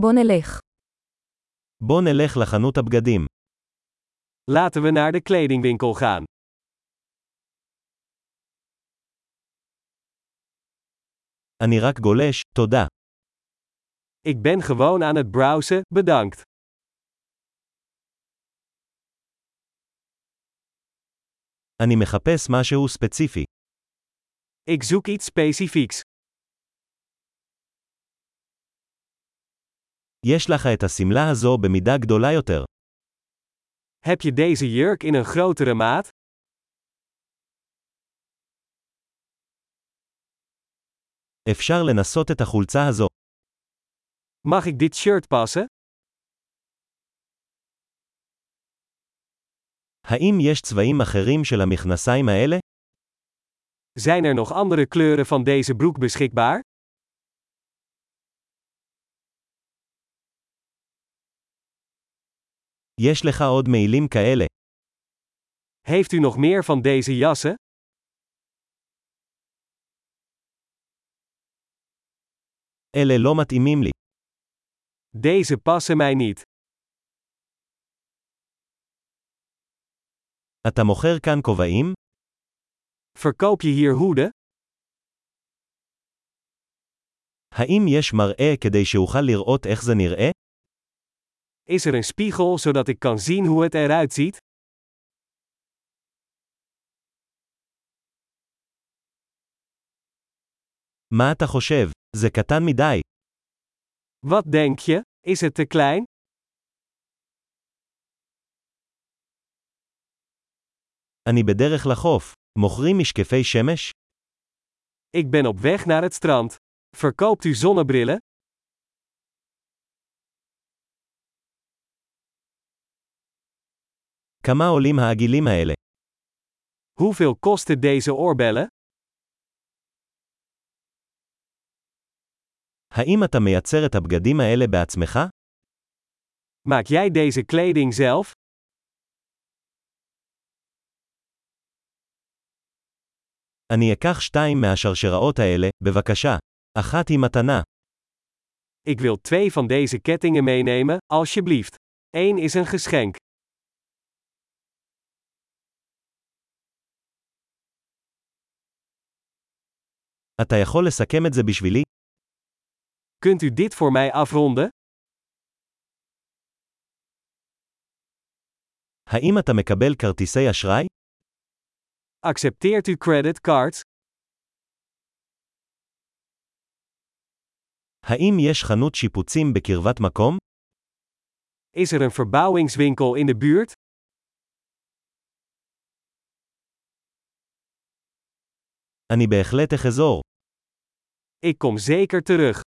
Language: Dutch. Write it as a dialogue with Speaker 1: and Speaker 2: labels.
Speaker 1: בוא נלך.
Speaker 2: בוא נלך לחנות הבגדים.
Speaker 3: Laten we naar de kledingwinkel gaan.
Speaker 2: אני רק גולש, תודה.
Speaker 3: Ik ben gewoon aan het browsen, bedankt.
Speaker 2: אני מחפש משהו ספציפי.
Speaker 3: Ik zoek iets specifieks.
Speaker 2: יש לך את השמלה הזו במידה גדולה יותר.
Speaker 3: Heb je deze jurk in een grotere maat?
Speaker 2: אפשר לנסות את החולצה הזו.
Speaker 3: Mag ik dit shirt passen?
Speaker 2: האם יש צבעים אחרים של המכנסיים האלה?
Speaker 3: Zijn er nog andere kleuren van deze broek beschikbaar?
Speaker 2: יש לך עוד מעילים כאלה.
Speaker 3: Heeft u nog meer van deze jassen?
Speaker 2: אלה לא מתאימים לי.
Speaker 3: Deze passen mij niet.
Speaker 2: אתה מוכר כאן כובעים?
Speaker 3: Verkoop je hier hoeden?
Speaker 2: האם יש מראה כדי שאוכל לראות איך זה נראה?
Speaker 3: Is er een spiegel zodat ik kan zien hoe het eruit ziet?
Speaker 2: מה אתה חושב? זה קטן מדי.
Speaker 3: Wat denk je? Is het te klein?
Speaker 2: אני בדרך לחוף. מוכרים משקפי שמש?
Speaker 3: Ik ben op weg naar het strand. Verkoopt u zonnebrillen?
Speaker 2: כמה עולים העגילים האלה?
Speaker 3: Hoeveel kosten deze oorbellen?
Speaker 2: האם אתה מייצר את הבגדים האלה בעצמך?
Speaker 3: Maak jij deze kleding zelf?
Speaker 2: אני אקח שתיים מהשרשראות האלה, בבקשה. אחת היא מתנה.
Speaker 3: Ik wil twee van deze kettingen meenemen, alsjeblieft. Eén is een geschenk.
Speaker 2: אתה יכול לסכם את זה בשבילי?
Speaker 3: Kunt u dit voor mij afronden?
Speaker 2: האם אתה מקבל כרטיסי אשראי?
Speaker 3: Accepteert u creditcards?
Speaker 2: האם יש חנות שיפוצים בקרבת מקום?
Speaker 3: Is er een verbouwingswinkel in de buurt?
Speaker 2: אני בהחלט אחזור.
Speaker 3: Ik kom zeker terug.